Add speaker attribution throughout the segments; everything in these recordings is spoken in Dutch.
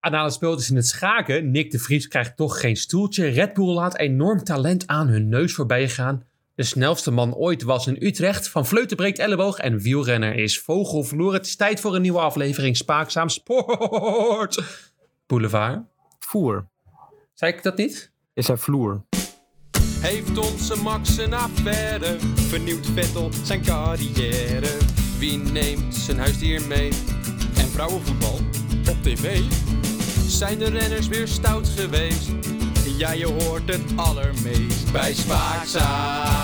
Speaker 1: Anale speeltjes dus in het schaken. Nick de Vries krijgt toch geen stoeltje. Red Bull laat enorm talent aan hun neus voorbij gaan. De snelste man ooit was in Utrecht. Van Vleuten breekt elleboog en wielrenner is vogel verloren. Het is tijd voor een nieuwe aflevering Spaakzaam Sport Boulevard.
Speaker 2: Voer.
Speaker 1: Zei ik dat niet?
Speaker 2: Is hij vloer?
Speaker 3: Heeft onze Max een affaire? Vernieuwt Vettel zijn carrière? Wie neemt zijn huisdier mee? En vrouwenvoetbal op tv? Zijn de renners weer stout geweest? Ja, je hoort het allermeest bij Spaakzaam.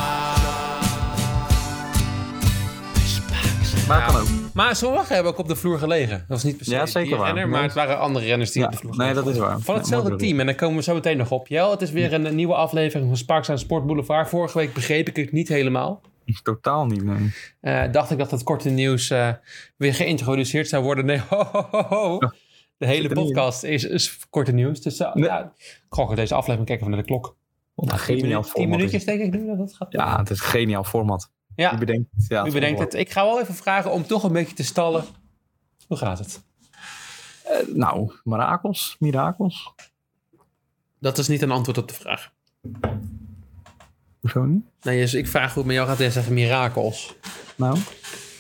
Speaker 2: Maar kan ook.
Speaker 1: Maar sommigen hebben ook op de vloer gelegen. Dat was niet per se
Speaker 2: Ja, zeker
Speaker 1: die
Speaker 2: waar.
Speaker 1: renner, maar
Speaker 2: Nee.
Speaker 1: het waren andere renners die
Speaker 2: Ja,
Speaker 1: op de vloer
Speaker 2: nee,
Speaker 1: gelegen
Speaker 2: dat is waar.
Speaker 1: Van
Speaker 2: Ja,
Speaker 1: hetzelfde
Speaker 2: mooi
Speaker 1: team. En daar komen we zo meteen nog op. Jel, het is weer een, een nieuwe aflevering van Spaakzaam Sport Boulevard. Vorige week begreep ik het niet helemaal.
Speaker 2: Totaal niet, nee.
Speaker 1: Eh, dacht ik dat het korte nieuws eh, weer geïntroduceerd zou worden. Nee, ho, ho, ho, ho. De hele
Speaker 2: er niet in.
Speaker 1: podcast is, is korte nieuws. Dus eh,
Speaker 2: Nee.
Speaker 1: ja, ik ga gewoon deze aflevering kijken van naar de klok.
Speaker 2: Wat een
Speaker 1: Tien
Speaker 2: geniaal
Speaker 1: minu- Tien
Speaker 2: format. is
Speaker 1: minuutjes
Speaker 2: het.
Speaker 1: denk ik nu dat dat gaat.
Speaker 2: Ja, het is een geniaal format.
Speaker 1: Ja,
Speaker 2: U bedenkt het. Ja,
Speaker 1: u bedenkt het. Ik ga wel even vragen om toch een beetje te stallen. Hoe gaat het?
Speaker 2: Eh, nou, mirakels, mirakels.
Speaker 1: Dat is niet een antwoord op de vraag.
Speaker 2: Hoezo niet?
Speaker 1: Nee, dus ik vraag hoe het met jou gaat en zeggen mirakels.
Speaker 2: Nou,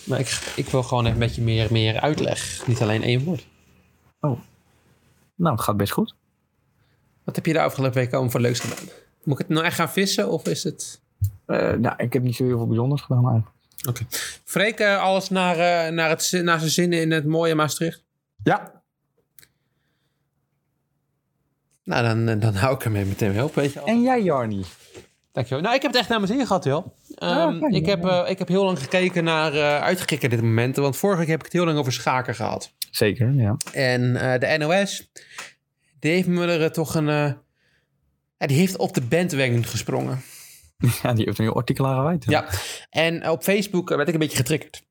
Speaker 1: Maar ik, ik wil gewoon even een beetje meer, meer uitleg. Niet alleen één woord.
Speaker 2: Oh. nou, het gaat best goed.
Speaker 1: Wat heb je de afgelopen week allemaal voor leuks gedaan? Moet ik het nou echt gaan vissen of is het...
Speaker 2: Eh, nou, ik heb niet zo heel veel bijzonders gedaan eigenlijk.
Speaker 1: Freek eh, alles naar, eh, naar, het, zin- naar zijn zin in het mooie Maastricht?
Speaker 2: Ja.
Speaker 1: Nou, dan, eh, dan hou ik ermee meteen weer op, weet je wel.
Speaker 2: En jij, Jarni?
Speaker 1: Dankjewel. Nou, ik heb het echt naar mijn zin gehad, wel.
Speaker 2: Ja, fijn,
Speaker 1: ik,
Speaker 2: ja.
Speaker 1: heb, eh, ik heb heel lang gekeken naar eh uitgekikken dit moment. Want vorige week heb ik het heel lang over schaken gehad.
Speaker 2: Zeker, ja.
Speaker 1: En eh, de NOS, Dave Muller eh, toch een... eh, ja, die heeft op de bandwagon gesprongen.
Speaker 2: Ja, die heeft een heel artikel aan gewijd. hè?
Speaker 1: Ja. En op Facebook eh, werd ik een beetje getriggerd.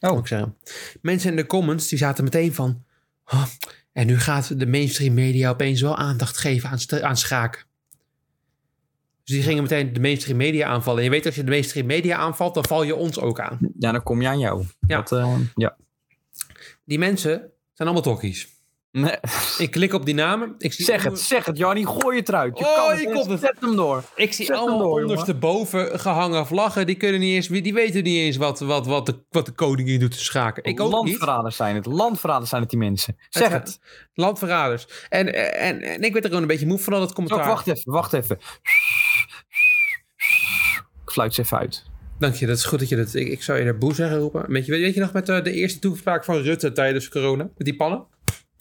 Speaker 1: Oh. Moet ik zeggen. Mensen in de comments die zaten meteen van... "Huh, en nu gaat de mainstream media opeens wel aandacht geven aan, st- aan schaken. Dus die gingen meteen de mainstream media aanvallen. En je weet, als je de mainstream media aanvalt, dan val je ons ook aan.
Speaker 2: Ja, dan kom je aan jou.
Speaker 1: Ja.
Speaker 2: Dat, eh, ja.
Speaker 1: Die mensen zijn allemaal tokkies.
Speaker 2: Nee,
Speaker 1: Ik klik op die namen. Ik zie
Speaker 2: zeg het, zeg het, Jarni. Gooi het eruit. Je
Speaker 1: Oh,
Speaker 2: kan het.
Speaker 1: je
Speaker 2: hè.
Speaker 1: komt het.
Speaker 2: Zet hem door.
Speaker 1: Ik zie
Speaker 2: Zet hem
Speaker 1: allemaal
Speaker 2: door, jongen.
Speaker 1: ondersteboven gehangen vlaggen. Die, kunnen niet eens, die weten niet eens wat, wat, wat, de, wat de koningin doet te schaken. Ik ook niet.
Speaker 2: Landverraders zijn het. Landverraders zijn het, die mensen. Zeg
Speaker 1: gaat-
Speaker 2: het.
Speaker 1: Landverraders. En, en, en ik werd er gewoon een beetje moe van al dat
Speaker 2: Zo,
Speaker 1: commentaar.
Speaker 2: wacht even, wacht even. Ik fluit ze even uit.
Speaker 1: Dank je, dat is goed dat je dat... Ik, ik zou je daar boe zeggen roepen. Weet je, weet je nog met eh, de eerste toespraak van Rutte tijdens corona? Met die pannen?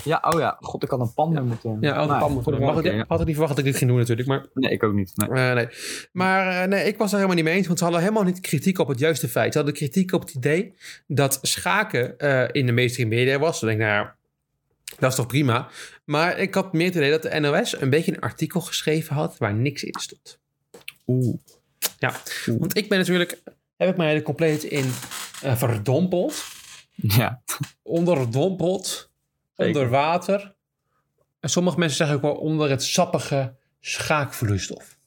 Speaker 2: Ja, oh ja. God, ik had een pan moeten...
Speaker 1: Ja, al die
Speaker 2: Nou,
Speaker 1: pannen. moeten
Speaker 2: voor de
Speaker 1: Mag ik,
Speaker 2: volgende keer,
Speaker 1: had ik niet verwacht dat ik dit ging doen natuurlijk, maar...
Speaker 2: ja. Nee, ik ook niet. Nee.
Speaker 1: eh, nee. Maar eh, nee, ik was daar helemaal niet mee eens, want ze hadden helemaal niet kritiek op het juiste feit. Ze hadden kritiek op het idee dat schaken eh, in de mainstream media was. Dan denk ik, nou ja, dat is toch prima. Maar ik had meer het idee dat de NOS een beetje een artikel geschreven had waar niks in stond.
Speaker 2: Oeh.
Speaker 1: Ja, want ik ben natuurlijk, heb ik mij er compleet in eh, verdompeld,
Speaker 2: Ja.
Speaker 1: onderdompeld,
Speaker 2: Zeker.
Speaker 1: onder water. En sommige mensen zeggen ook wel onder het sappige schaakvloeistof.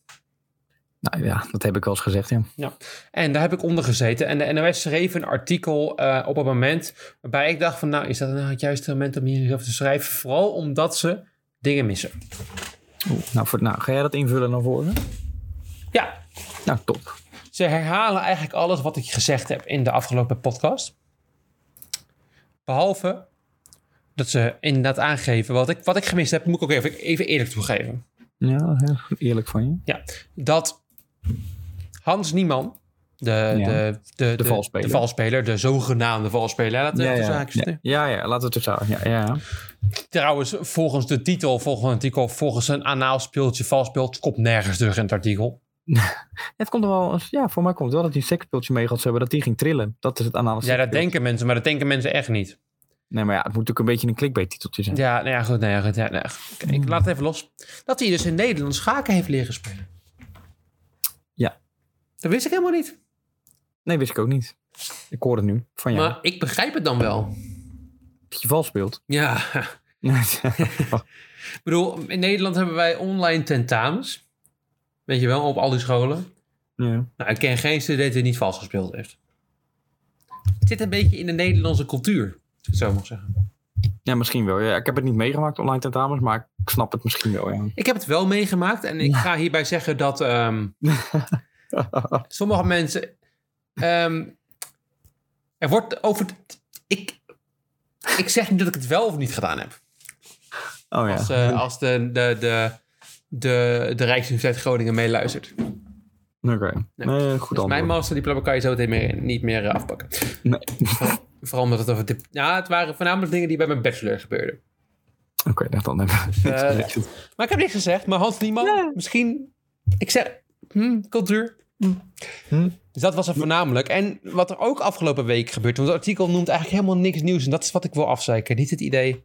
Speaker 2: Nou ja, dat heb ik wel eens gezegd, ja.
Speaker 1: En daar heb ik onder gezeten. En de NOS schreef een artikel eh, op het moment waarbij ik dacht van, nou, is dat nou het juiste moment om hierover te schrijven? Vooral omdat ze dingen missen.
Speaker 2: Oeh. Nou, voor, nou, ga jij dat invullen dan voor me?
Speaker 1: Ja,
Speaker 2: Nou, top.
Speaker 1: ze herhalen eigenlijk alles wat ik gezegd heb in de afgelopen podcast. Behalve dat ze inderdaad aangeven wat ik, wat ik gemist heb, moet ik ook even, even eerlijk toegeven.
Speaker 2: Ja, heel eerlijk van je.
Speaker 1: Ja, dat Hans Nieman, de, de, de, de,
Speaker 2: valsspeler.
Speaker 1: de valspeler, de zogenaamde valspeler, laten we
Speaker 2: Ja,
Speaker 1: even
Speaker 2: ja,
Speaker 1: zaakjes-
Speaker 2: ja, ja, ja, laten we het zo. Ja, ja.
Speaker 1: Trouwens, volgens de titel, volgens het artikel, volgens een anaal speeltje, valspeelt, komt nergens terug in het artikel.
Speaker 2: Het komt er wel, ja, voor mij komt het wel dat die sekspultje mee gehad hebben, dat die ging trillen. Dat is het analyse.
Speaker 1: Ja, dat denken mensen, maar dat denken mensen echt niet.
Speaker 2: Nee, maar ja, het moet natuurlijk een beetje een clickbait titeltje zijn.
Speaker 1: Ja, nou ja, goed. Nou ja, goed ja, nou ja, goed. Kijk, Ik laat het even los. Dat hij dus in Nederland schaken heeft leren spelen.
Speaker 2: Ja.
Speaker 1: Dat wist ik helemaal niet.
Speaker 2: Nee, wist ik ook niet. Ik hoor het nu van jou.
Speaker 1: Maar ik begrijp het dan wel.
Speaker 2: Dat je vals speelt.
Speaker 1: Ja. ik bedoel, in Nederland hebben wij online tentamens. Weet je wel, op al die scholen.
Speaker 2: ja.
Speaker 1: Nou, ik ken geen student die niet vals gespeeld heeft. Het zit een beetje in de Nederlandse cultuur, als ik het zo mag zeggen.
Speaker 2: Ja, misschien wel. Ja, ik heb het niet meegemaakt, online tentamens, maar ik snap het misschien wel. Ja.
Speaker 1: Ik heb het wel meegemaakt en ik ga hierbij zeggen dat ehm,
Speaker 2: Oh
Speaker 1: sommige mensen. ehm, er wordt over. Ik, ik zeg niet dat ik het wel of niet gedaan heb.
Speaker 2: Oh
Speaker 1: Als,
Speaker 2: ja.
Speaker 1: eh, als de, de, de, de, de Rijksuniversiteit Groningen meeluistert.
Speaker 2: Oké.
Speaker 1: nee.
Speaker 2: Nee, eh, goed
Speaker 1: Dus
Speaker 2: antwoord.
Speaker 1: mijn masterdiploma kan je zo meteen meer, niet meer eh, afpakken.
Speaker 2: Nee.
Speaker 1: Vooral omdat het over... dip- Ja, het waren voornamelijk dingen die bij mijn bachelor gebeurden.
Speaker 2: Oké, dat dan even.
Speaker 1: Eh, Maar ik heb niks gezegd. Maar Hans Nieman, misschien... Ik zeg... hm, cultuur. Hm.
Speaker 2: Hm.
Speaker 1: Dus dat was er voornamelijk. En wat er ook afgelopen week gebeurt... Want het artikel noemt eigenlijk helemaal niks nieuws. En dat is wat ik wil afzeiken. Niet het idee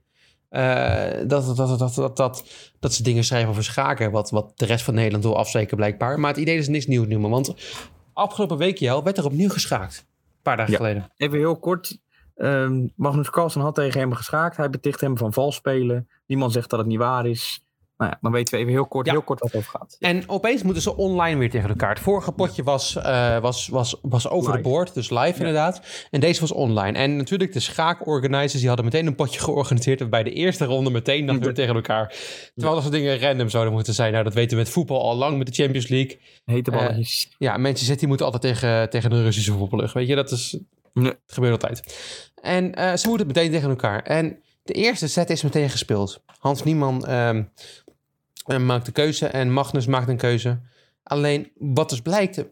Speaker 1: eh, dat, dat, dat, dat, dat, dat, dat ze dingen schrijven over schaken. Wat, wat de rest van Nederland wil afzeiken blijkbaar. Maar het idee is niks nieuws noemen. Want afgelopen week, Jel, werd er opnieuw geschaakt. Een paar dagen
Speaker 2: Ja.
Speaker 1: geleden.
Speaker 2: Even heel kort. Ehm, Magnus Carlsen had tegen hem geschaakt. Hij beticht hem van vals spelen. Niemand zegt dat het niet waar is. Nou ja, dan weten we even heel kort,
Speaker 1: Ja.
Speaker 2: heel kort wat het over gaat.
Speaker 1: En opeens moeten ze online weer tegen elkaar. Het vorige potje was, eh, was, was, was over de
Speaker 2: Live.
Speaker 1: board, dus live inderdaad. En deze was online. En natuurlijk de schaakorganisers die hadden meteen een potje georganiseerd... waarbij de eerste ronde meteen dan weer tegen elkaar... terwijl dat soort dingen random zouden moeten zijn. Nou, dat weten we met voetbal al lang, met de Champions League.
Speaker 2: Hete
Speaker 1: Eh,
Speaker 2: balletjes.
Speaker 1: Ja, Manchester City moet altijd tegen, tegen een Russische voetbalploeg. Weet je, dat is...
Speaker 2: Nee.
Speaker 1: Het gebeurt altijd. En eh, ze moeten het meteen tegen elkaar. En de eerste set is meteen gespeeld. Hans Nieman ehm, eh, maakt de keuze en Magnus maakt een keuze. Alleen, wat dus blijkt...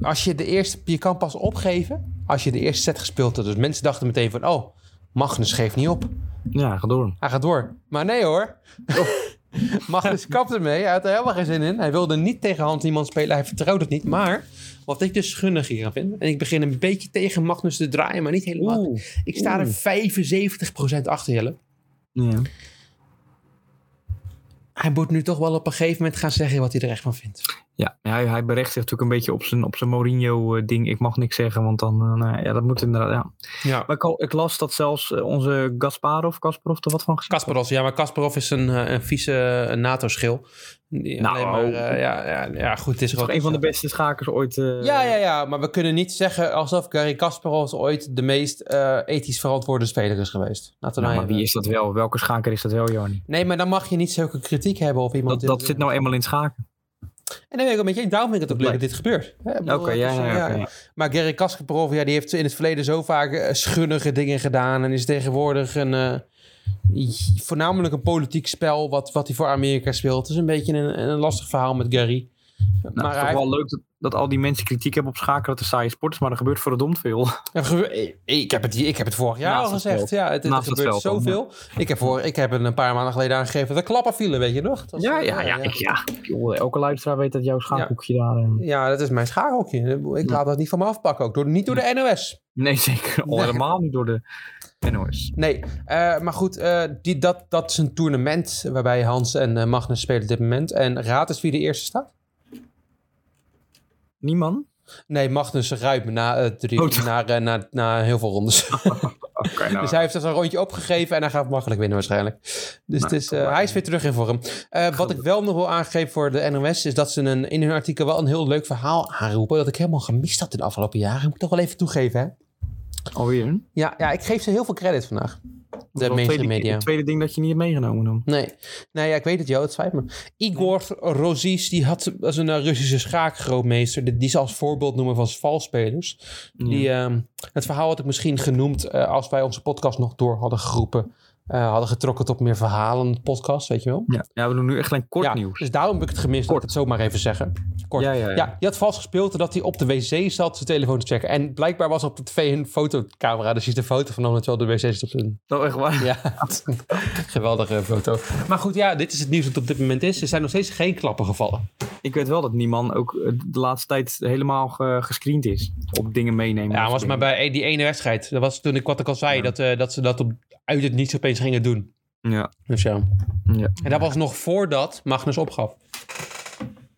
Speaker 1: Als je de eerste... Je kan pas opgeven als je de eerste set gespeeld hebt. Dus mensen dachten meteen van... Oh, Magnus geeft niet op.
Speaker 2: ja, ga door.
Speaker 1: Hij gaat door. Maar nee hoor.
Speaker 2: Oh.
Speaker 1: Magnus kapte ermee. Hij had er helemaal geen zin in. Hij wilde niet tegen Hans Niemann spelen. Hij vertrouwde het niet. Maar wat ik dus gunnig hier aan vind. En ik begin een beetje tegen Magnus te draaien. Maar niet helemaal. ik sta er 75% achter Jelle.
Speaker 2: Ja.
Speaker 1: Hij moet nu toch wel op een gegeven moment gaan zeggen wat hij er echt van vindt.
Speaker 2: Ja, hij, hij berecht zich natuurlijk een beetje op zijn, op zijn Mourinho-ding. Ik mag niks zeggen, want dan... eh, nou, ja, dat moet inderdaad... Ja.
Speaker 1: Ja.
Speaker 2: Maar ik, al- ik las dat zelfs eh, onze Gasparov, Kasparov, er wat van gezegd
Speaker 1: Kasparov, ja, maar Kasparov is een, eh, een vieze eh, NATO-schil. Die
Speaker 2: Nou.
Speaker 1: alleen maar, eh, ja, ja, ja, goed, het is
Speaker 2: is toch
Speaker 1: gewoon-
Speaker 2: een van de beste schakers ooit. eh,
Speaker 1: Ja, ja, ja, maar we kunnen niet zeggen alsof Gary Kasparov ooit de meest eh, ethisch verantwoorde speler is geweest. Laten we
Speaker 2: Nou,
Speaker 1: nou
Speaker 2: maar wie
Speaker 1: even-
Speaker 2: is dat wel? Welke schaker is dat wel, Joni?
Speaker 1: Nee, maar dan mag je niet zulke kritiek hebben op iemand.
Speaker 2: Dat,
Speaker 1: die
Speaker 2: dat
Speaker 1: wil
Speaker 2: zit
Speaker 1: doen.
Speaker 2: nou eenmaal in schaken.
Speaker 1: En dan ben ik ook met je, daarom vind ik het ook leuk dat dit gebeurt. Hè, ik
Speaker 2: Oké,
Speaker 1: bedoel, het
Speaker 2: ja,
Speaker 1: is,
Speaker 2: ja,
Speaker 1: eh,
Speaker 2: oké, Nou, ja.
Speaker 1: Maar Gary Kasparov, ja, die heeft in het verleden zo vaak eh, schunnige dingen gedaan. En is tegenwoordig een, eh, voornamelijk een politiek spel wat, wat hij voor Amerika speelt. Het is een beetje een, een lastig verhaal met Gary.
Speaker 2: Nou, het is
Speaker 1: hij-
Speaker 2: toch wel leuk dat, dat al die mensen kritiek hebben op schaken. Dat de saaie sport is, maar er gebeurt verdomd veel.
Speaker 1: Er gebe- ik- eh, Ik heb het, hier- ik heb het vorig jaar
Speaker 2: Naast
Speaker 1: al
Speaker 2: het
Speaker 1: gezegd.
Speaker 2: veld.
Speaker 1: Ja, het, het
Speaker 2: Naast het
Speaker 1: gebeurt
Speaker 2: veld dan,
Speaker 1: zoveel. Ik, heb voor, ik heb er een paar maanden geleden aangegeven dat er klappen vielen, weet je nog? Dat- eh,
Speaker 2: Ja, ja, ja. Ik, ja. Joh, elke luisteraar weet dat jouw schaakhoekje daar... eh,
Speaker 1: Ja, dat is mijn schaakhoekje. Ik
Speaker 2: Ja.
Speaker 1: laat dat niet van me afpakken. Ook door, niet door de NOS.
Speaker 2: Nee, zeker. Al
Speaker 1: Nee.
Speaker 2: helemaal niet door de NOS.
Speaker 1: Nee, eh, maar goed, eh, die, dat, dat is een toernooi waarbij Hans en eh, Magnus spelen op dit moment. En raad eens wie de eerste staat?
Speaker 2: Niemand?
Speaker 1: Nee, Magnus ruimt na, eh, drie,
Speaker 2: Oh, toch.
Speaker 1: na, eh, na, na heel veel rondes.
Speaker 2: Oké, nou.
Speaker 1: Dus hij heeft dus een rondje opgegeven en hij gaat makkelijk winnen waarschijnlijk. Dus het is, eh, hij is weer terug in vorm. Eh, wat ik wel nog wil aangeven voor de NOS is dat ze een, in hun artikel wel een heel leuk verhaal aanroepen. Dat ik helemaal gemist had in de afgelopen jaren. Moet ik toch wel even toegeven, hè?
Speaker 2: Alweer?
Speaker 1: Ja, ja ik geef ze heel veel credit vandaag. De
Speaker 2: Dat is wel het
Speaker 1: mainstream
Speaker 2: tweede,
Speaker 1: media.
Speaker 2: Het tweede ding dat je niet hebt meegenomen dan.
Speaker 1: Nee. Nee, ja, ik weet het, joh. Het spijt me. Igor Rozis, die had, was een eh, Russische schaakgrootmeester. Die, die ze als voorbeeld noemen van valspelers. Die, ehm, het verhaal had ik misschien genoemd eh, als wij onze podcast nog door hadden geroepen. eh, hadden getrokken tot meer verhalen podcast, weet je wel.
Speaker 2: Ja. ja, we doen nu echt alleen kort
Speaker 1: ja,
Speaker 2: nieuws.
Speaker 1: Dus daarom heb ik het gemist,
Speaker 2: Kort.
Speaker 1: dat ik het zomaar even zeggen. Kort.
Speaker 2: Ja, ja, ja.
Speaker 1: die had vals gespeeld dat hij op de wc zat zijn telefoon te checken. En blijkbaar was op de tv een fotocamera. Dus je ziet een foto van hem terwijl de wc zit op zijn
Speaker 2: Nou, echt waar.
Speaker 1: ja, geweldige foto. Maar goed, ja, dit is het nieuws dat op dit moment is. Er zijn nog steeds geen klappen gevallen.
Speaker 2: Ik weet wel dat Niemand ook eh, de laatste tijd helemaal ge- gescreend is. Op dingen meenemen.
Speaker 1: Ja,
Speaker 2: Dat
Speaker 1: was
Speaker 2: soort
Speaker 1: maar bij die ene wedstrijd. Dat was toen ik wat ik al zei,
Speaker 2: Ja.
Speaker 1: dat, eh, dat ze dat op, uit het niets opeens gingen doen.
Speaker 2: dingen. Ja.
Speaker 1: Dus ja.
Speaker 2: ja.
Speaker 1: En dat was nog voordat Magnus opgaf.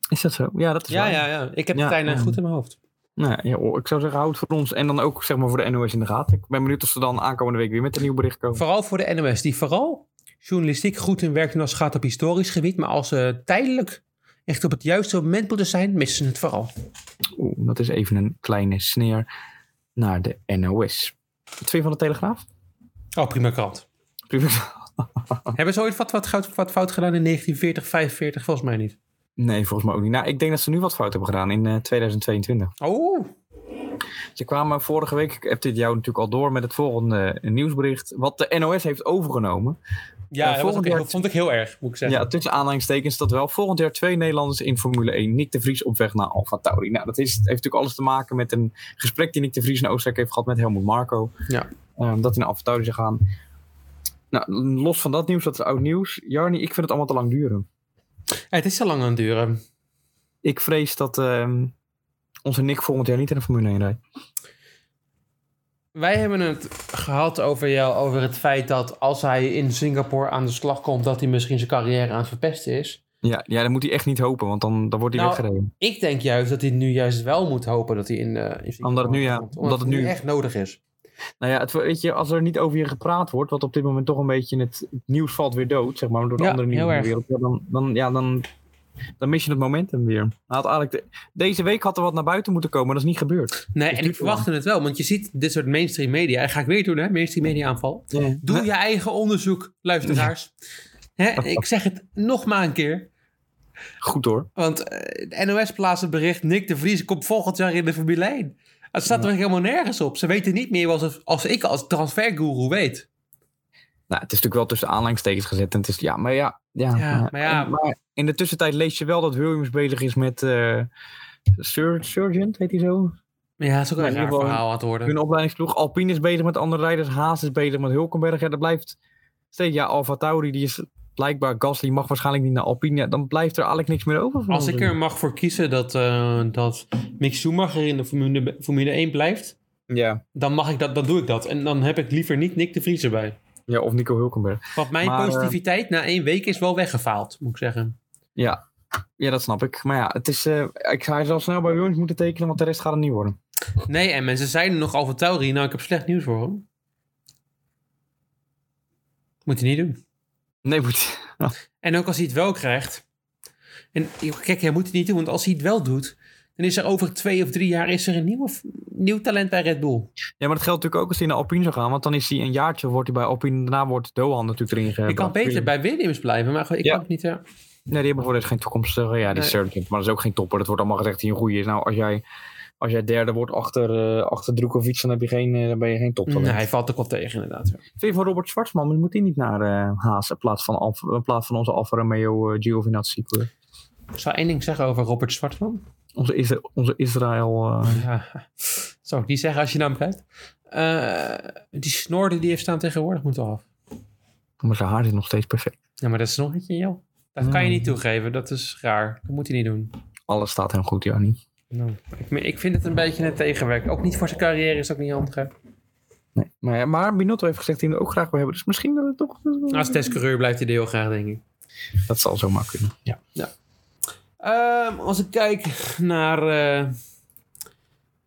Speaker 2: Is dat zo? Ja, dat is
Speaker 1: Ja,
Speaker 2: waar.
Speaker 1: ja, ja. Ik heb
Speaker 2: Ja,
Speaker 1: het bijna
Speaker 2: ja.
Speaker 1: goed in mijn hoofd.
Speaker 2: Nou, ja, joh, ik zou zeggen, houd het voor ons. En dan ook zeg maar, voor de NOS in de gaten. Ik ben benieuwd of ze dan aankomende week weer met een nieuw bericht komen.
Speaker 1: Vooral voor de NOS, die vooral journalistiek goed hun werk doen als het gaat op historisch gebied. Maar als ze tijdelijk echt op het juiste moment moeten zijn, missen ze het vooral.
Speaker 2: Oeh, dat is even een kleine sneer naar de NOS. Wat vind je van de Telegraaf?
Speaker 1: Oh, prima krant.
Speaker 2: Oh.
Speaker 1: Hebben ze ooit wat, wat, goud- wat fout gedaan in 1940, 45? Volgens mij niet.
Speaker 2: Nee, volgens mij ook niet. Nou, ik denk dat ze nu wat fout hebben gedaan in eh, 2022.
Speaker 1: Oh,
Speaker 2: Ze kwamen vorige week, ik heb dit jou natuurlijk al door met het volgende eh, nieuwsbericht, wat de NOS heeft overgenomen.
Speaker 1: ja, dat, was
Speaker 2: volgend
Speaker 1: ook-
Speaker 2: jaar-
Speaker 1: dat vond ik heel erg, moet ik zeggen.
Speaker 2: Ja, tussen aanhalingstekens dat wel. Volgend jaar twee Nederlanders in Formule 1. Nick de Vries op weg naar Alfa Tauri. Nou, dat is, heeft natuurlijk alles te maken met een gesprek die Nick de Vries in Oostenrijk heeft gehad met Helmut Marco.
Speaker 1: Ja.
Speaker 2: Ehm, dat hij naar Alfa Tauri zou gaan. Nou, los van dat nieuws, dat is oud nieuws. Jarni, ik vind het allemaal te lang duren.
Speaker 1: Eh, het is te lang aan het duren.
Speaker 2: Ik vrees dat ehm, onze Nick volgend jaar niet in de Formule 1 rijdt.
Speaker 1: Wij hebben het gehad over jou, over het feit dat als hij in Singapore aan de slag komt, dat hij misschien zijn carrière aan het verpesten is.
Speaker 2: Ja, ja, dan moet hij echt niet hopen, want dan, dan wordt hij
Speaker 1: Nou,
Speaker 2: weggereden.
Speaker 1: Ik denk juist dat hij nu juist wel moet hopen dat hij in, eh, in Singapore
Speaker 2: Omdat het nu, ja,
Speaker 1: komt.
Speaker 2: omdat het nu-
Speaker 1: echt nodig is.
Speaker 2: Nou ja, het, weet je, als er niet over je gepraat wordt, wat op dit moment toch een beetje in het, het nieuws valt weer dood, zeg maar, door de
Speaker 1: Ja,
Speaker 2: andere nieuws in
Speaker 1: heel erg.
Speaker 2: de wereld, ja, dan, dan, ja, dan, dan mis je het momentum weer. Hij Had eigenlijk de- deze week had er wat naar buiten moeten komen, maar dat is niet gebeurd.
Speaker 1: Nee,
Speaker 2: is
Speaker 1: en
Speaker 2: nu
Speaker 1: ik verwachtte het wel, want je ziet dit soort mainstream media. En ga ik weer doen, hè? Mainstream media aanval. Doe je eigen onderzoek, luisteraars. Hè? Ik zeg het nog maar een keer.
Speaker 2: Goed hoor.
Speaker 1: Want eh, de NOS plaatst het bericht: Nick de Vries komt volgend jaar in de Formule 1. Het staat er helemaal nergens op. Ze weten niet meer als, als ik als transferguru weet.
Speaker 2: Nou, het is natuurlijk wel tussen aanleidingstekens gezet. En het is, ja, maar ja. ja,
Speaker 1: Ja, maar ja.
Speaker 2: En- maar in de tussentijd lees je wel dat Williams bezig is met eh Sur- Surgent, heet hij zo?
Speaker 1: Maar ja, het is ook
Speaker 2: Maar
Speaker 1: een
Speaker 2: in
Speaker 1: raar
Speaker 2: ieder geval-
Speaker 1: verhaal aan het worden.
Speaker 2: Hun opleidingsploeg. Alpine is bezig met andere rijders. Haas is bezig met Hulkenberg. Ja, dat blijft steeds. Ja, Alfa Tauri, die is blijkbaar. Gasly mag waarschijnlijk niet naar Alpine. Ja, dan blijft er eigenlijk niks meer over. van
Speaker 1: Als
Speaker 2: ons.
Speaker 1: ik er mag voor kiezen dat, eh, dat Mick Schumacher in de Formule, Formule 1 blijft,
Speaker 2: Ja.
Speaker 1: dan, mag ik dat, dan doe ik dat. En dan heb ik liever niet Nick de Vries erbij.
Speaker 2: ja, of Nico Hulkenberg.
Speaker 1: Want mijn
Speaker 2: Maar, eh,
Speaker 1: positiviteit na één week is wel weggefaald, moet ik zeggen.
Speaker 2: Ja. ja, dat snap ik. Maar ja, het is, eh, ik zou hij zal snel bij Williams moeten tekenen, want de rest gaat het niet worden.
Speaker 1: Nee, en mensen zeiden nog over Tauri. Nou, ik heb slecht nieuws voor hem. Moet hij niet doen.
Speaker 2: Nee, moet.
Speaker 1: En ook als hij het wel krijgt. En kijk, hij moet het niet doen, want als hij het wel doet... dan is er over twee of drie jaar is er een nieuwe, nieuw talent bij Red Bull.
Speaker 2: Ja, maar dat geldt natuurlijk ook als hij naar Alpine zou gaan. Want dan is hij een jaartje wordt hij bij Alpine. Daarna wordt Dohan natuurlijk erin gebracht.
Speaker 1: ik kan beter bij Williams blijven, maar goed, ik
Speaker 2: Ja.
Speaker 1: kan het niet... eh,
Speaker 2: Nee, die hebben voor dit geen toekomst. eh, ja, die
Speaker 1: Nee.
Speaker 2: Sergeant, maar dat is ook geen topper. Dat wordt allemaal gezegd die een goeie is. Nou, als jij, als jij derde wordt achter, eh achter Drukovic, dan, heb je geen, eh, dan ben je geen toptalent.
Speaker 1: nee, hij valt ook wel tegen, inderdaad.
Speaker 2: Vind je van Robert Schwarzman, maar moet hij niet naar eh Haas in plaats van, Alfa- in plaats van onze Alfa Romeo eh, Giovinazzi? hoor.
Speaker 1: Ik zou één ding zeggen over Robert Zwartman.
Speaker 2: Onze, Isra- onze Israël... eh,
Speaker 1: Ja, zou ik niet zeggen als je naar hem kijkt. Eh, die snor die die heeft staan tegenwoordig moet al af.
Speaker 2: maar zijn haar is nog steeds perfect.
Speaker 1: Ja, maar dat snorretje, joh. Dat kan je
Speaker 2: Ja.
Speaker 1: niet toegeven. Dat is raar. Dat moet hij niet doen.
Speaker 2: Alles staat hem goed, Jannie.
Speaker 1: Nou, ik, me- ik vind het een beetje een tegenwerk. Ook niet voor zijn carrière is ook niet handig. hè.
Speaker 2: Nee. Maar, ja, maar Binotto heeft gezegd dat hij hem ook graag wil hebben. Dus misschien dat het toch...
Speaker 1: Als testcoureur blijft hij er heel graag, denk ik.
Speaker 2: Dat zal zomaar kunnen. Ja.
Speaker 1: Ehm, als ik kijk naar, eh,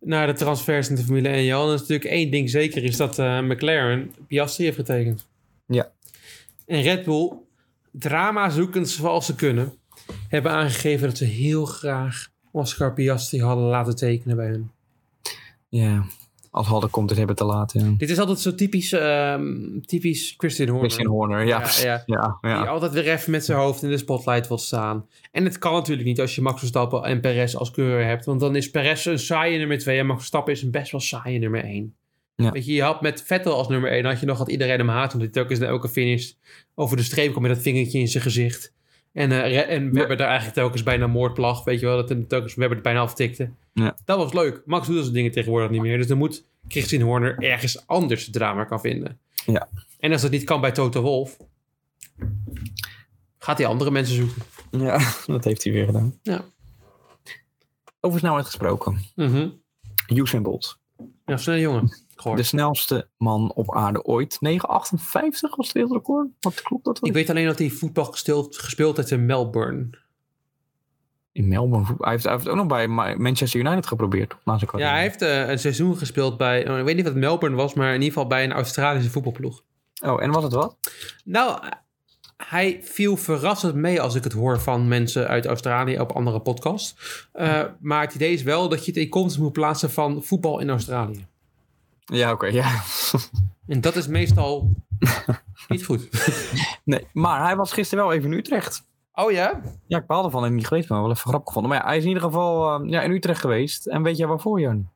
Speaker 1: naar de transfers in de Formule 1, Johan, is natuurlijk één ding zeker, is dat eh, McLaren Piastri heeft getekend.
Speaker 2: Ja.
Speaker 1: En Red Bull, drama zoekend zoals ze kunnen, hebben aangegeven dat ze heel graag Oscar Piastri hadden laten tekenen bij hun.
Speaker 2: ja. Als Halder komt, het hebben te laat. Ja.
Speaker 1: Dit is altijd zo typisch, ehm, typisch Christian Horner.
Speaker 2: Christian Horner, ja.
Speaker 1: Ja,
Speaker 2: Ja,
Speaker 1: ja.
Speaker 2: ja.
Speaker 1: Die altijd weer even met zijn hoofd in de spotlight wil staan. En het kan natuurlijk niet als je Max Verstappen en Perez als coureur hebt. Want dan is Perez een saaie nummer 2 en Max Verstappen is een best wel saaie nummer 1.
Speaker 2: Ja.
Speaker 1: Weet je, je had met Vettel als nummer 1, had je nog dat iedereen hem haat. Omdat hij telkens na elke finish over de streep komt met dat vingertje in zijn gezicht. En, eh, Re- en Webber daar eigenlijk telkens bijna moordplag. Weet je wel, dat hem telkens Webber het bijna aftikte.
Speaker 2: Ja.
Speaker 1: Dat was leuk. Max doet dat soort dingen tegenwoordig niet meer. Dus dan moet Christian Horner ergens anders het drama kan vinden.
Speaker 2: Ja.
Speaker 1: En als dat niet kan bij Toto Wolf, Gaat hij andere mensen zoeken?
Speaker 2: Ja, dat heeft hij weer gedaan.
Speaker 1: Ja.
Speaker 2: Over snelheid gesproken. Usain Bolt.
Speaker 1: Mhm. Ja, snelle jongen. Gehoord.
Speaker 2: De snelste man op aarde ooit. 9,58 was het wereldrecord. Wat klopt dat? wel?
Speaker 1: ik weet alleen dat hij voetbal gespeeld, gespeeld heeft in Melbourne.
Speaker 2: In Melbourne. voet- Hij heeft, hij heeft het ook nog bij Ma- Manchester United geprobeerd. Na zijn
Speaker 1: Ja,
Speaker 2: carrière.
Speaker 1: hij heeft eh, een seizoen gespeeld bij, eh, ik weet niet wat Melbourne was, maar in ieder geval bij een Australische voetbalploeg.
Speaker 2: Oh, en was het wat?
Speaker 1: Nou, eh, hij viel verrassend mee als ik het hoor van mensen uit Australië op andere podcasts. Eh, Maar het idee is wel dat je het in context moet plaatsen van voetbal in Australië.
Speaker 2: Ja, oké, ja.
Speaker 1: En dat is meestal niet goed.
Speaker 2: Nee, maar hij was gisteren wel even in Utrecht.
Speaker 1: Oh ja?
Speaker 2: Ja, ik baalde van en niet geweest, maar wel even grappig gevonden. Maar ja, hij is in ieder geval eh, ja, in Utrecht geweest. En weet jij waarvoor, Jan?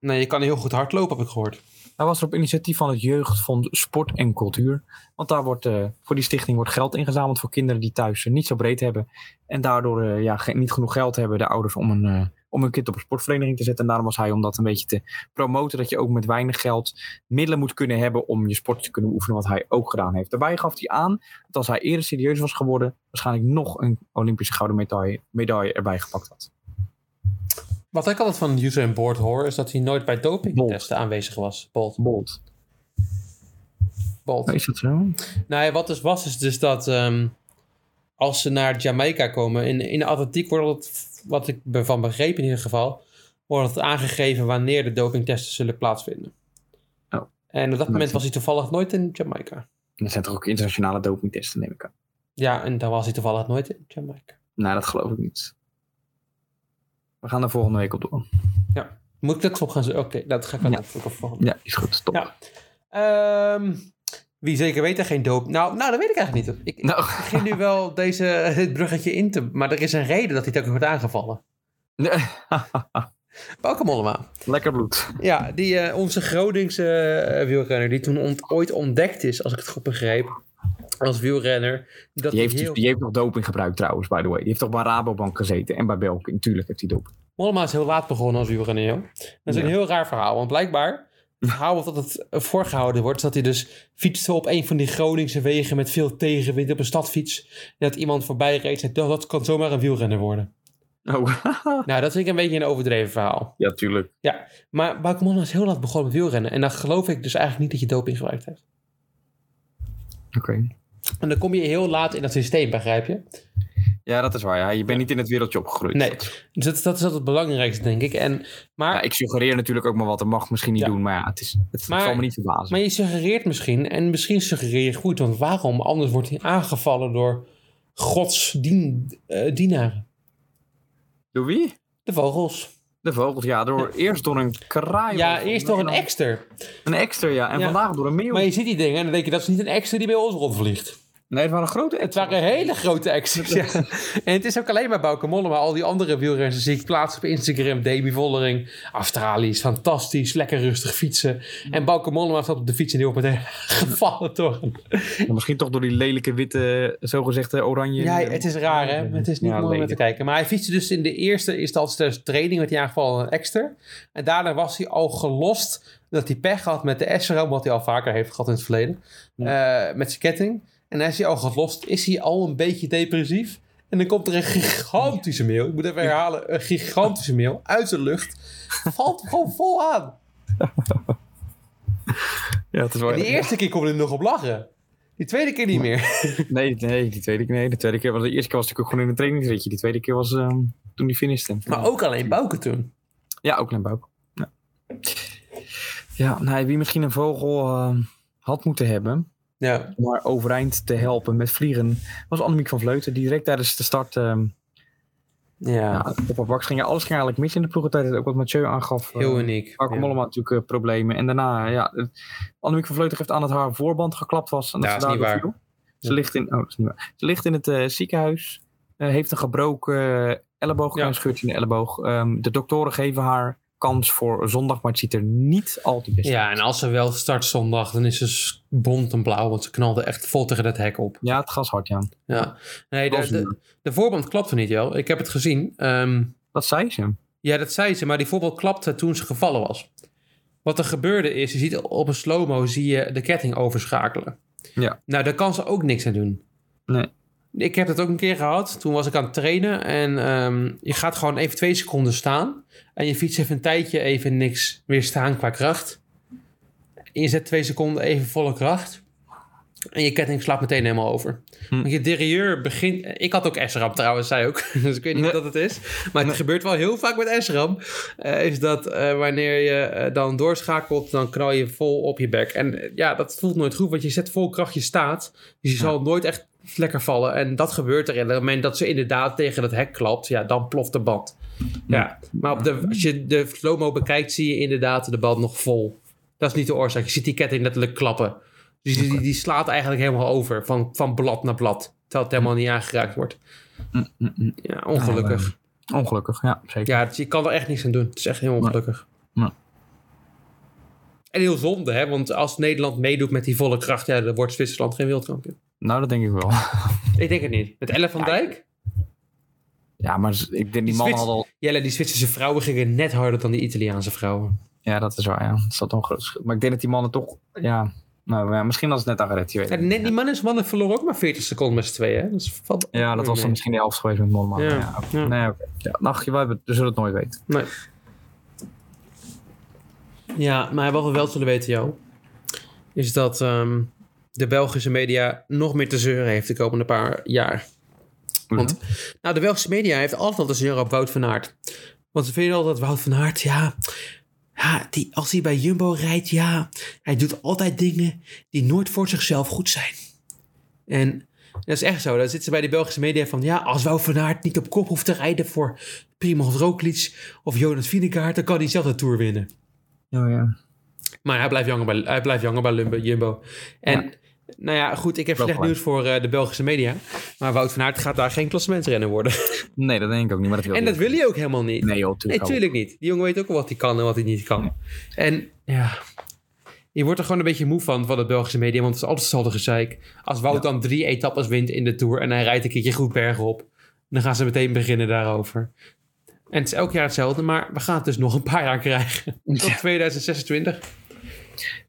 Speaker 1: Nee, je kan heel goed hardlopen, heb ik gehoord.
Speaker 2: Hij was er op initiatief van het Jeugdfonds Sport en Cultuur. Want daar wordt, eh, voor die stichting wordt geld ingezameld voor kinderen die thuis eh, niet zo breed hebben. En daardoor eh, ja, ge- niet genoeg geld hebben, de ouders, om, een, eh, om hun kind op een sportvereniging te zetten. En daarom was hij om dat een beetje te promoten. Dat je ook met weinig geld middelen moet kunnen hebben om je sport te kunnen oefenen. Wat hij ook gedaan heeft. Daarbij gaf hij aan dat als hij eerder serieus was geworden. waarschijnlijk nog een Olympische gouden medaille, medaille erbij gepakt had.
Speaker 1: Wat ik altijd van Usain Board hoor, is dat hij nooit bij dopingtesten aanwezig was. Bolt.
Speaker 2: Bold.
Speaker 1: Bolt.
Speaker 2: Oh, Is dat zo?
Speaker 1: Nou ja, wat dus was, is dus dat ehm, als ze naar Jamaica komen, in, in de atletiek wordt het, wat ik ervan begreep in ieder geval, wordt het aangegeven wanneer de dopingtesten zullen plaatsvinden.
Speaker 2: Oh.
Speaker 1: En op dat moment was hij toevallig nooit in Jamaica.
Speaker 2: Er zijn toch ook internationale dopingtesten, neem ik aan.
Speaker 1: Ja, en dan was hij toevallig nooit in Jamaica.
Speaker 2: Nou, dat geloof ik niet. We gaan er volgende week op door.
Speaker 1: Moet ik dat op gaan zoeken? Oké, dat ga ik dan
Speaker 2: Ja.
Speaker 1: opzoeken volgende.
Speaker 2: Ja, is goed. Top.
Speaker 1: Ja. Ehm, wie zeker weet er geen doop. Nou, nou, dat weet ik eigenlijk niet. Ik,
Speaker 2: Nou,
Speaker 1: ik begin nu wel deze, dit bruggetje in te... Maar er is een reden dat hij telkens wordt aangevallen. Welkom allemaal.
Speaker 2: lekker bloed.
Speaker 1: Ja, die, eh, onze Groningse eh, wielrenner, die toen ont- ooit ontdekt is, als ik het goed begreep, als wielrenner. Dat hij
Speaker 2: Die heeft, dus-
Speaker 1: heel...
Speaker 2: die heeft nog doping gebruikt trouwens, by the way. Die heeft toch bij Rabobank gezeten en bij Belkin. Natuurlijk heeft hij doping.
Speaker 1: Mollema is heel laat begonnen als wielrenner, joh. Dat is
Speaker 2: Ja.
Speaker 1: een heel raar verhaal, want blijkbaar, het verhaal wat altijd eh, voorgehouden wordt, is dat hij dus fietste op een van die Groningse wegen met veel tegenwind op een stadfiets. En dat iemand voorbij reed en zei, "Nou, dat kan zomaar een wielrenner worden.
Speaker 2: Oh,
Speaker 1: Nou, dat vind ik een beetje een overdreven verhaal.
Speaker 2: ja, tuurlijk.
Speaker 1: Maar Bauke Mollema is heel laat begonnen met wielrennen. En dan geloof ik dus eigenlijk niet dat je doping gebruikt hebt.
Speaker 2: Oké.
Speaker 1: En dan kom je heel laat in dat systeem, begrijp je?
Speaker 2: Ja, dat is waar. Ja. Je bent niet in het wereldje opgegroeid.
Speaker 1: Nee, dus dat, dat is altijd het belangrijkste, denk ik. En, maar,
Speaker 2: Ja, ik suggereer natuurlijk ook maar wat. Dat mag misschien niet
Speaker 1: Ja.
Speaker 2: doen, maar ja, het, is, het
Speaker 1: Maar-
Speaker 2: zal me niet verbazen.
Speaker 1: maar je suggereert misschien, en misschien suggereer je goed, want waarom anders wordt hij aangevallen door Gods dien, eh, dienaren?
Speaker 2: Door wie?
Speaker 1: De vogels.
Speaker 2: De vogels, ja. Door, Eerst door een kraai.
Speaker 1: ja,
Speaker 2: of-
Speaker 1: eerst door
Speaker 2: en
Speaker 1: een
Speaker 2: dan
Speaker 1: ekster.
Speaker 2: Een extra, ja. En
Speaker 1: Ja.
Speaker 2: vandaag door een meeuw.
Speaker 1: Maar je ziet die dingen en dan denk je, dat is niet een ekster die bij ons rondvliegt.
Speaker 2: Nee, het waren grote
Speaker 1: Het waren hele grote exters, ja. En het is ook alleen maar Bauke Mollema. Al die andere wielrenners zie ik plaatsen op Instagram. Demi Vollering, Australië is fantastisch. Lekker rustig fietsen. En Bauke Mollema zat op de fiets en die wordt meteen gevallen door een
Speaker 2: Ja, Misschien toch door die lelijke witte, eh, zogezegde oranje.
Speaker 1: Ja, het is raar, hè? Het is niet
Speaker 2: Ja,
Speaker 1: mooi om naar te
Speaker 2: lelijk.
Speaker 1: kijken. Maar hij fietste dus in de eerste instantie tijdens de training met die aangevallen een extra. En daarna was hij al gelost dat hij pech had met de SRO, wat hij al vaker heeft gehad in het verleden, eh, met zijn ketting. En hij is hij al gelost, is hij al een beetje depressief. En dan komt er een gigantische mail, ik moet even herhalen, een gigantische mail uit de lucht. Valt gewoon vol aan.
Speaker 2: Ja, het is wel...
Speaker 1: En die eerste keer kon hij er nog op lachen. Die tweede keer niet meer.
Speaker 2: Nee, nee, die tweede keer. Nee, de tweede keer was de eerste keer was natuurlijk ook gewoon in een trainingsritje. Die tweede keer was ehm, toen die finishte.
Speaker 1: Maar ook alleen Bouke toen.
Speaker 2: Ja, ook Limbouk. Ja, ja nee, wie misschien een vogel ehm, had moeten hebben
Speaker 1: Ja,
Speaker 2: om haar overeind te helpen met vliegen, was Annemiek van Vleuten. Die direct tijdens de start ehm,
Speaker 1: ja.
Speaker 2: ja, op haar baks ging. Ja, alles ging eigenlijk mis in de ploegentijd. Ook wat Mathieu aangaf. ehm,
Speaker 1: heel uniek.
Speaker 2: Marco
Speaker 1: Ja.
Speaker 2: Mollema had natuurlijk eh, problemen. En daarna, ja, eh, Annemiek van Vleuten geeft aan dat haar voorband geklapt was. En dat
Speaker 1: Ja,
Speaker 2: ze
Speaker 1: is niet
Speaker 2: daardoor
Speaker 1: waar.
Speaker 2: viel. Ze
Speaker 1: Ja.
Speaker 2: ligt in, oh, dat is niet waar. Ze ligt in het eh, ziekenhuis. eh, heeft een gebroken eh, elleboog,
Speaker 1: Ja.
Speaker 2: een scheurtje in de elleboog. Ehm, de doktoren geven haar kans voor zondag, maar het ziet er niet al te best uit.
Speaker 1: Ja, en als ze wel start zondag, dan is ze s- bont en blauw, want ze knalde echt vol tegen dat hek op.
Speaker 2: Ja, het gas hard, ja.
Speaker 1: Ja. Nee, de,
Speaker 2: Als
Speaker 1: de, de voorband klapte niet, joh. Ik heb het gezien. Ehm,
Speaker 2: Wat zei ze?
Speaker 1: ja, dat zei ze, maar die voorband klapte toen ze gevallen was. Wat er gebeurde is, je ziet op een slow-mo zie je de ketting overschakelen.
Speaker 2: Ja.
Speaker 1: Nou, daar kan ze ook niks aan doen.
Speaker 2: Nee.
Speaker 1: Ik heb dat ook een keer gehad. Toen was ik aan het trainen en ehm, je gaat gewoon even twee seconden staan. En je fietst even een tijdje even niks meer staan qua kracht. En je zet twee seconden even volle kracht. En je ketting slaat meteen helemaal over.
Speaker 2: Hm.
Speaker 1: Want je derieur begint... Ik had ook SRAM trouwens, zij ook. dus ik weet niet
Speaker 2: Nee.
Speaker 1: wat dat het is. Maar het gebeurt wel heel vaak met SRAM. eh, is dat eh, wanneer je eh, dan doorschakelt, dan knal je vol op je bek. En eh, ja, dat voelt nooit goed, want je zet vol kracht, je staat. Dus je zal nooit echt lekker vallen. En dat gebeurt er. En op het moment dat ze inderdaad tegen dat hek klapt, ja, dan ploft de band. Ja. Maar op de, als je de slow-mo bekijkt, zie je inderdaad de band nog vol. Dat is niet de oorzaak. Je ziet die ketting letterlijk klappen. Dus die, die slaat eigenlijk helemaal over, van, van blad naar blad. Terwijl het helemaal niet aangeraakt wordt.
Speaker 2: Mm, mm, mm.
Speaker 1: Hm. Ah, Ja, ongelukkig.
Speaker 2: Ongelukkig, ja, zeker.
Speaker 1: Ja, dus je kan er echt niks aan doen. Het is echt heel ongelukkig.
Speaker 2: Nee.
Speaker 1: En heel zonde, hè? Want als Nederland meedoet met die volle kracht, ja, dan wordt Zwitserland geen wereldkampioen.
Speaker 2: Nou, dat denk ik wel.
Speaker 1: Ik denk het niet. Met Ellen van Dijk?
Speaker 2: Ja, maar z- ik denk die man
Speaker 1: Spits.
Speaker 2: had al...
Speaker 1: Jelle, die Zwitserse vrouwen gingen net harder dan die Italiaanse vrouwen.
Speaker 2: Ja, dat is waar, ja. Dat zat een groot verschil. Maar ik denk dat die mannen toch... Ja, nou ja, misschien was het net Agaretti, weet ik
Speaker 1: En
Speaker 2: niet.
Speaker 1: net die mannen mannen verloren ook maar 40 seconden met z'n tweeën. Hè? Dus valt ook
Speaker 2: Ja,
Speaker 1: weer
Speaker 2: dat was dan
Speaker 1: mee.
Speaker 2: misschien de helft geweest met Mollema.
Speaker 1: Ja,
Speaker 2: Ja. oké.
Speaker 1: ja.
Speaker 2: Nee, oké. Ja, ach, je- we, hebben, we zullen het nooit weten.
Speaker 1: Nee. Ja, maar wat we wel zullen weten, Jo, is dat ehm, de Belgische media nog meer te zeuren heeft de komende paar jaar. Want nou, de Belgische media heeft altijd al te zeuren op Wout van Aert. Want ze vinden altijd Wout van Aert, ja, ja die, als hij bij Jumbo rijdt, ja, hij doet altijd dingen die nooit voor zichzelf goed zijn. En dat is echt zo. Dan zitten ze bij die Belgische media van... ja, als Wout van Aert niet op kop hoeft te rijden voor Primoz Roglic of Jonas Vingegaard... dan kan hij zelf de Tour winnen.
Speaker 2: Oh, ja.
Speaker 1: Maar hij blijft jonger bij, hij blijft jonger bij Lumbo- Jumbo. En nou ja, goed, ik heb
Speaker 2: Wel
Speaker 1: slecht
Speaker 2: gelijk.
Speaker 1: nieuws voor eh, de Belgische media. Maar Wout van Aert gaat daar geen klassementsrenner worden.
Speaker 2: Nee, dat denk ik ook niet, maar dat wil
Speaker 1: en
Speaker 2: je
Speaker 1: dat wil je ook helemaal niet.
Speaker 2: ook. Nee oh. joh,
Speaker 1: Nee,
Speaker 2: tuurlijk.
Speaker 1: tuurlijk niet. Die jongen weet ook al wat hij kan en wat hij niet kan. En ja, je wordt er gewoon een beetje moe van, van het Belgische media. Want het is altijd hetzelfde gezeik. Als Wout
Speaker 2: Ja.
Speaker 1: dan drie etappes wint in de Tour en hij rijdt een keertje goed bergen op. Dan gaan ze meteen beginnen daarover. En het is elk jaar hetzelfde, maar we gaan het dus nog een paar jaar krijgen. Tot 2026.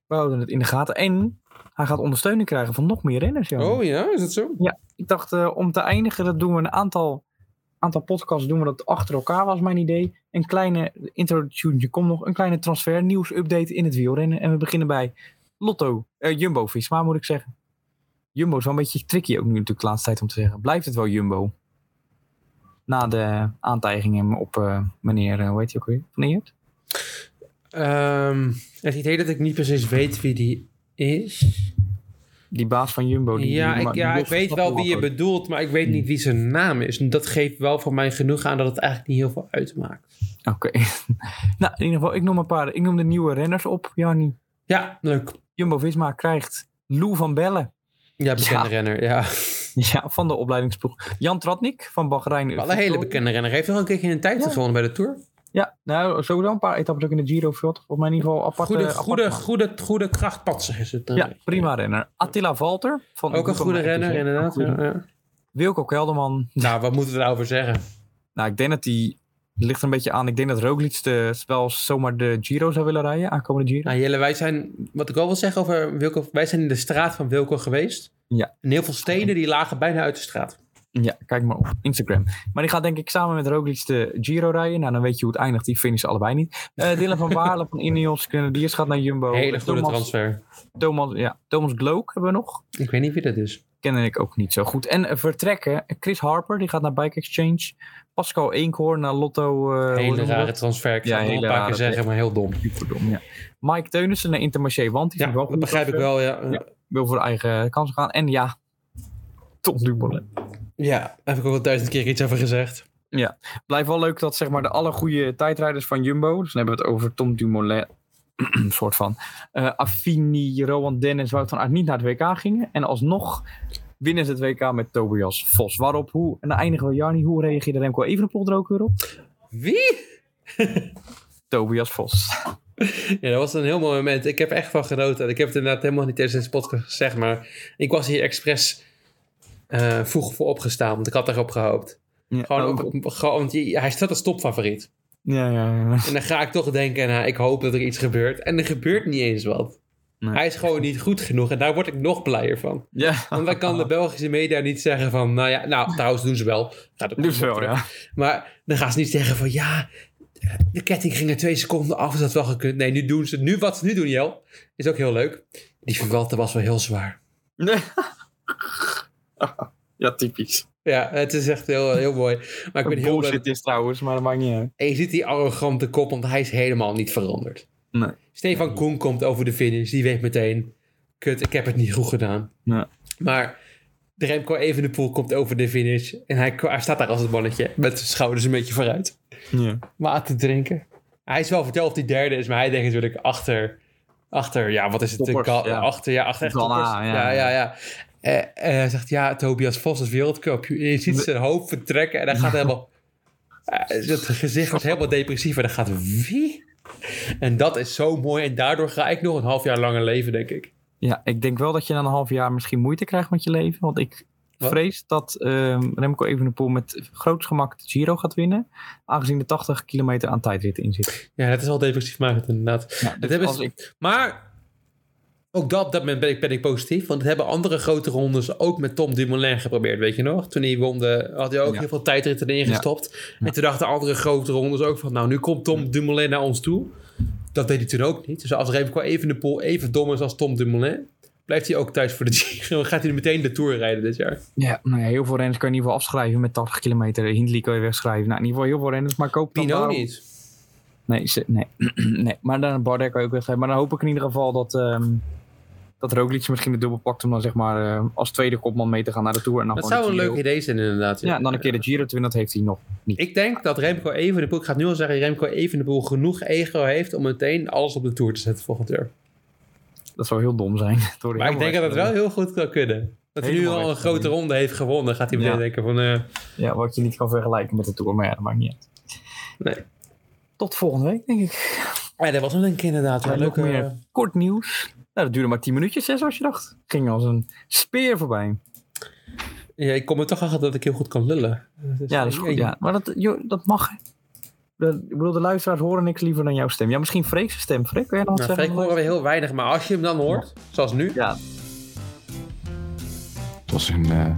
Speaker 2: We houden het in de gaten. En hij gaat ondersteuning krijgen van nog meer renners. joh.
Speaker 1: Oh ja, is dat zo?
Speaker 2: Ik dacht, eh, om te eindigen, dat doen we een aantal, aantal podcasts doen we dat achter elkaar, was mijn idee. Een kleine introductie, komt nog, een kleine transfer, nieuws, update in het wielrennen. En we beginnen bij Lotto, eh, Jumbo Visma moet ik zeggen. Jumbo is wel een beetje tricky ook nu natuurlijk de laatste tijd om te zeggen. Blijft het wel Jumbo? Na de aantijgingen op eh, meneer, eh, hoe heet hij ook weer? Van Eert?
Speaker 1: Ehm, het idee dat ik niet precies weet wie die is.
Speaker 2: Die baas van Jumbo. Oh, Die,
Speaker 1: Ja,
Speaker 2: die-
Speaker 1: ik,
Speaker 2: die
Speaker 1: ja, ik
Speaker 2: Jos
Speaker 1: weet wel
Speaker 2: Verstappen
Speaker 1: wie je
Speaker 2: had ook.
Speaker 1: bedoelt, maar ik weet niet wie zijn naam is. En dat geeft wel voor mij genoeg aan dat het eigenlijk niet heel veel uitmaakt.
Speaker 2: Oké. nou, in ieder geval, ik noem een paar. Ik noem de nieuwe renners op, Jannie.
Speaker 1: Ja, leuk.
Speaker 2: Jumbo Visma krijgt Lou van Bellen.
Speaker 1: Ja, bekende
Speaker 2: Ja.
Speaker 1: renner, ja.
Speaker 2: Ja, van de opleidingsploeg. Jan Tratnik van Bahrein.
Speaker 1: Wel een hele bekende renner. Heeft nog een keertje een tijd
Speaker 2: Ja.
Speaker 1: gewonnen bij de Tour.
Speaker 2: Ja, nou, sowieso een paar etappes ook in de Giro. Volgens mij in ieder geval apart.
Speaker 1: Goede,
Speaker 2: eh, apart
Speaker 1: goede,
Speaker 2: gemaakt.
Speaker 1: goede, goede krachtpatser is het. dan.
Speaker 2: Ja, prima renner. Attila Valter. Van
Speaker 1: Ook een dus, goede renner, inderdaad.
Speaker 2: Goeie.
Speaker 1: ja, ja.
Speaker 2: Wilco Kelderman.
Speaker 1: Nou, wat moeten we daarover zeggen?
Speaker 2: Nou, ik denk dat die... het ligt er een beetje aan. Ik denk dat Roglic de, wel zomaar de Giro zou willen rijden. Aankomende Giro.
Speaker 1: Nou, Jelle, wij zijn, wat ik wel wil zeggen over Wilco, wij zijn in de straat van Wilco geweest.
Speaker 2: Ja.
Speaker 1: En heel veel stenen die lagen bijna uit de straat.
Speaker 2: Ja, kijk maar op Instagram. Maar die gaat denk ik samen met Roglic de Giro rijden. Nou, dan weet je hoe het eindigt. Die finishen allebei niet. Eh Dylan van Baarle van Ineos Grenadiers gaat naar Jumbo.
Speaker 1: hele goede
Speaker 2: Thomas,
Speaker 1: transfer.
Speaker 2: Thomas, ja, Thomas Gloak hebben we nog.
Speaker 1: Ik weet niet wie dat is.
Speaker 2: Kennen ik ook niet zo goed. En eh, vertrekken. Chris Harper, die gaat naar Bike Exchange. Pascal Eenkhoorn naar Lotto. eh, hoe
Speaker 1: hele
Speaker 2: noemen we
Speaker 1: rare
Speaker 2: dat?
Speaker 1: transfer. Ik
Speaker 2: Ja,
Speaker 1: ga het nog
Speaker 2: hele
Speaker 1: een paar
Speaker 2: rare
Speaker 1: keer zeggen, maar heel dom.
Speaker 2: Superdom, ja. Mike Teunissen naar Intermarché. Want die
Speaker 1: Ja,
Speaker 2: vind ik wel
Speaker 1: dat
Speaker 2: goed.
Speaker 1: begrijp ik wel, ja. ja.
Speaker 2: Ja. Wil voor eigen kansen gaan. En ja, Tom Dumoulin.
Speaker 1: daar heb ik ook al duizend keer iets over gezegd.
Speaker 2: blijft wel leuk dat zeg maar de alle goede tijdrijders van Jumbo, dus dan hebben we het over Tom Dumoulin, een soort van, eh Affini, Rowan Dennis, Wout van Aert niet naar het WK gingen. En alsnog winnen ze het WK met Tobias Vos. Waarop, hoe, en dan eindigen we Jarni, hoe reageerde Remco Evenepoel er ook weer op?
Speaker 1: Wie?
Speaker 2: Tobias Vos.
Speaker 1: Ja, dat was een heel mooi moment. Ik heb er echt van genoten. Ik heb het inderdaad helemaal niet tijdens deze podcast gezegd, maar ik was hier expres eh, vroeg voor opgestaan, want ik had daarop gehoopt.
Speaker 2: Ja,
Speaker 1: Gewoon, op, op- gewoon, want je- hij staat als topfavoriet.
Speaker 2: Ja, ja, ja.
Speaker 1: En dan ga ik toch denken, nou, ik hoop dat er iets gebeurt. En er gebeurt niet eens wat.
Speaker 2: Nee.
Speaker 1: Hij is gewoon niet goed genoeg en daar word ik nog blijer van.
Speaker 2: ja.
Speaker 1: Want dan kan de Belgische media niet zeggen van, nou ja, nou trouwens doen ze wel. Gaat ook
Speaker 2: Nu wel, ja.
Speaker 1: Maar dan gaan ze niet zeggen van ja, de ketting ging er twee seconden af, is dat wel gekund. Nee, nu doen ze, nu wat ze nu doen, Jel, is ook heel leuk. Die verwalte was wel heel zwaar.
Speaker 2: Ja, typisch.
Speaker 1: Ja, het is echt heel, heel mooi. Maar ik ben heel blij.
Speaker 2: Bullshit is trouwens, maar dat maakt niet uit.
Speaker 1: En je ziet die arrogante kop, want hij is helemaal niet veranderd.
Speaker 2: Nee.
Speaker 1: Stefan Koen komt over de finish, die weet meteen, kut, ik heb het niet goed gedaan.
Speaker 2: Ja.
Speaker 1: Maar de Remco Evenepoel komt over de finish. En hij, hij staat daar als het mannetje. Met zijn schouders een beetje vooruit.
Speaker 2: Ja.
Speaker 1: Maar te drinken. Hij is wel verteld of die derde is, maar hij denkt natuurlijk achter, achter ja, wat is het?
Speaker 2: Toppers,
Speaker 1: De gal-
Speaker 2: ja.
Speaker 1: Achter, ja, achter echt
Speaker 2: Ghana,
Speaker 1: toppers. Ja,
Speaker 2: ja,
Speaker 1: ja, ja. Eh, eh, hij zegt, ja, Tobias Vos is wereldkampioen. En Je ziet zijn hoofd vertrekken en hij gaat helemaal... eh, dat gezicht wordt helemaal depressief en dan gaat wie? En dat is zo mooi en daardoor ga ik nog een half jaar langer leven, denk ik.
Speaker 2: Ja, ik denk wel dat je na een half jaar misschien moeite krijgt met je leven. Want ik
Speaker 1: Wat?
Speaker 2: vrees dat ehm Remco Evenepoel met groot gemak de Giro gaat winnen. Aangezien de 80 kilometer aan tijdrit in zit.
Speaker 1: Ja, dat is wel depressief maken inderdaad.
Speaker 2: Ja,
Speaker 1: Dat
Speaker 2: dus
Speaker 1: hebben
Speaker 2: als
Speaker 1: ze-
Speaker 2: ik,
Speaker 1: Maar ook dat, op dat moment ben ik, ben ik positief. Want dat hebben andere grote rondes ook met Tom Dumoulin geprobeerd, weet je nog? Toen hij won, de, had hij ook
Speaker 2: Ja.
Speaker 1: heel veel tijdritten erin gestopt. En toen dachten andere grote rondes ook van... nou, nu komt Tom Dumoulin naar ons toe. Dat deed hij toen ook niet. Dus als Remco Evenepoel even dom is als Tom Dumoulin... blijft hij ook thuis voor de Giro. Gaat hij meteen de Tour rijden dit jaar.
Speaker 2: ja, nou ja, heel veel renners kan je in ieder geval afschrijven met 80 kilometer. Hindley kan je wegschrijven. Nou, in ieder geval heel veel renners. Maar ik hoop dan
Speaker 1: Pino
Speaker 2: daarom-
Speaker 1: niet.
Speaker 2: Nee, ze- nee. nee. maar dan Bardet kan je ook weggeven. Maar dan hoop ik in ieder geval dat, ehm dat Roglic misschien de dubbel pakt om dan zeg maar eh, als tweede kopman mee te gaan naar de Tour. En dan
Speaker 1: Dat
Speaker 2: gewoon
Speaker 1: zou een
Speaker 2: de
Speaker 1: leuk
Speaker 2: Giro.
Speaker 1: idee zijn inderdaad.
Speaker 2: Ja, en dan een keer de Giro te winnen, dat heeft hij nog niet.
Speaker 1: Ik denk dat Remco Evenepoel... Ik ga het nu al zeggen. Remco Evenepoel genoeg ego heeft... om meteen alles op de Tour te zetten volgend jaar.
Speaker 2: Dat zou heel dom zijn. Dat hoor
Speaker 1: Maar ik
Speaker 2: helemaal
Speaker 1: denk dat het
Speaker 2: weg.
Speaker 1: wel heel goed kan kunnen. Dat hij nu
Speaker 2: Helemaal
Speaker 1: al een
Speaker 2: weg.
Speaker 1: grote ronde heeft gewonnen, gaat hij meteen
Speaker 2: Ja.
Speaker 1: denken van... eh,
Speaker 2: Ja, wat je niet kan vergelijken met de Tour, maar ja, dat maakt niet uit.
Speaker 1: nee.
Speaker 2: Tot volgende week, denk ik.
Speaker 1: Ja, dat was hem denk ik inderdaad.
Speaker 2: Ja,
Speaker 1: wel
Speaker 2: nog
Speaker 1: leuk,
Speaker 2: meer
Speaker 1: eh,
Speaker 2: kort nieuws. Nou, dat duurde maar 10 minuutjes, hè, zoals je dacht. Ging als een speer voorbij.
Speaker 1: ja, ik kom er toch achter dat ik heel goed kan lullen. Dus,
Speaker 2: Ja, dat is
Speaker 1: eh,
Speaker 2: goed. Ja. Maar dat, joh, dat mag. hè. Dat- Ik bedoel, de luisteraars horen niks liever dan jouw stem. Ja, misschien Freek's stem. Freek, kun jij dan wat
Speaker 1: Nou,
Speaker 2: zeggen?
Speaker 1: Freek horen we heel weinig, maar als je hem dan hoort, zoals nu...
Speaker 2: Ja,
Speaker 4: Het was een eh,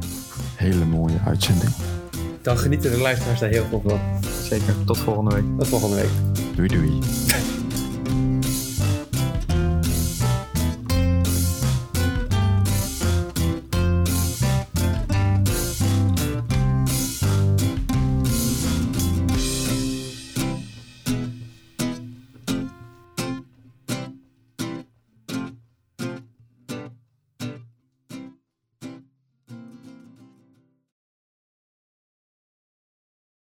Speaker 4: hele mooie uitzending.
Speaker 1: dan genieten de luisteraars daar heel veel van.
Speaker 2: zeker. Tot volgende week.
Speaker 1: Tot volgende week.
Speaker 4: Doei doei.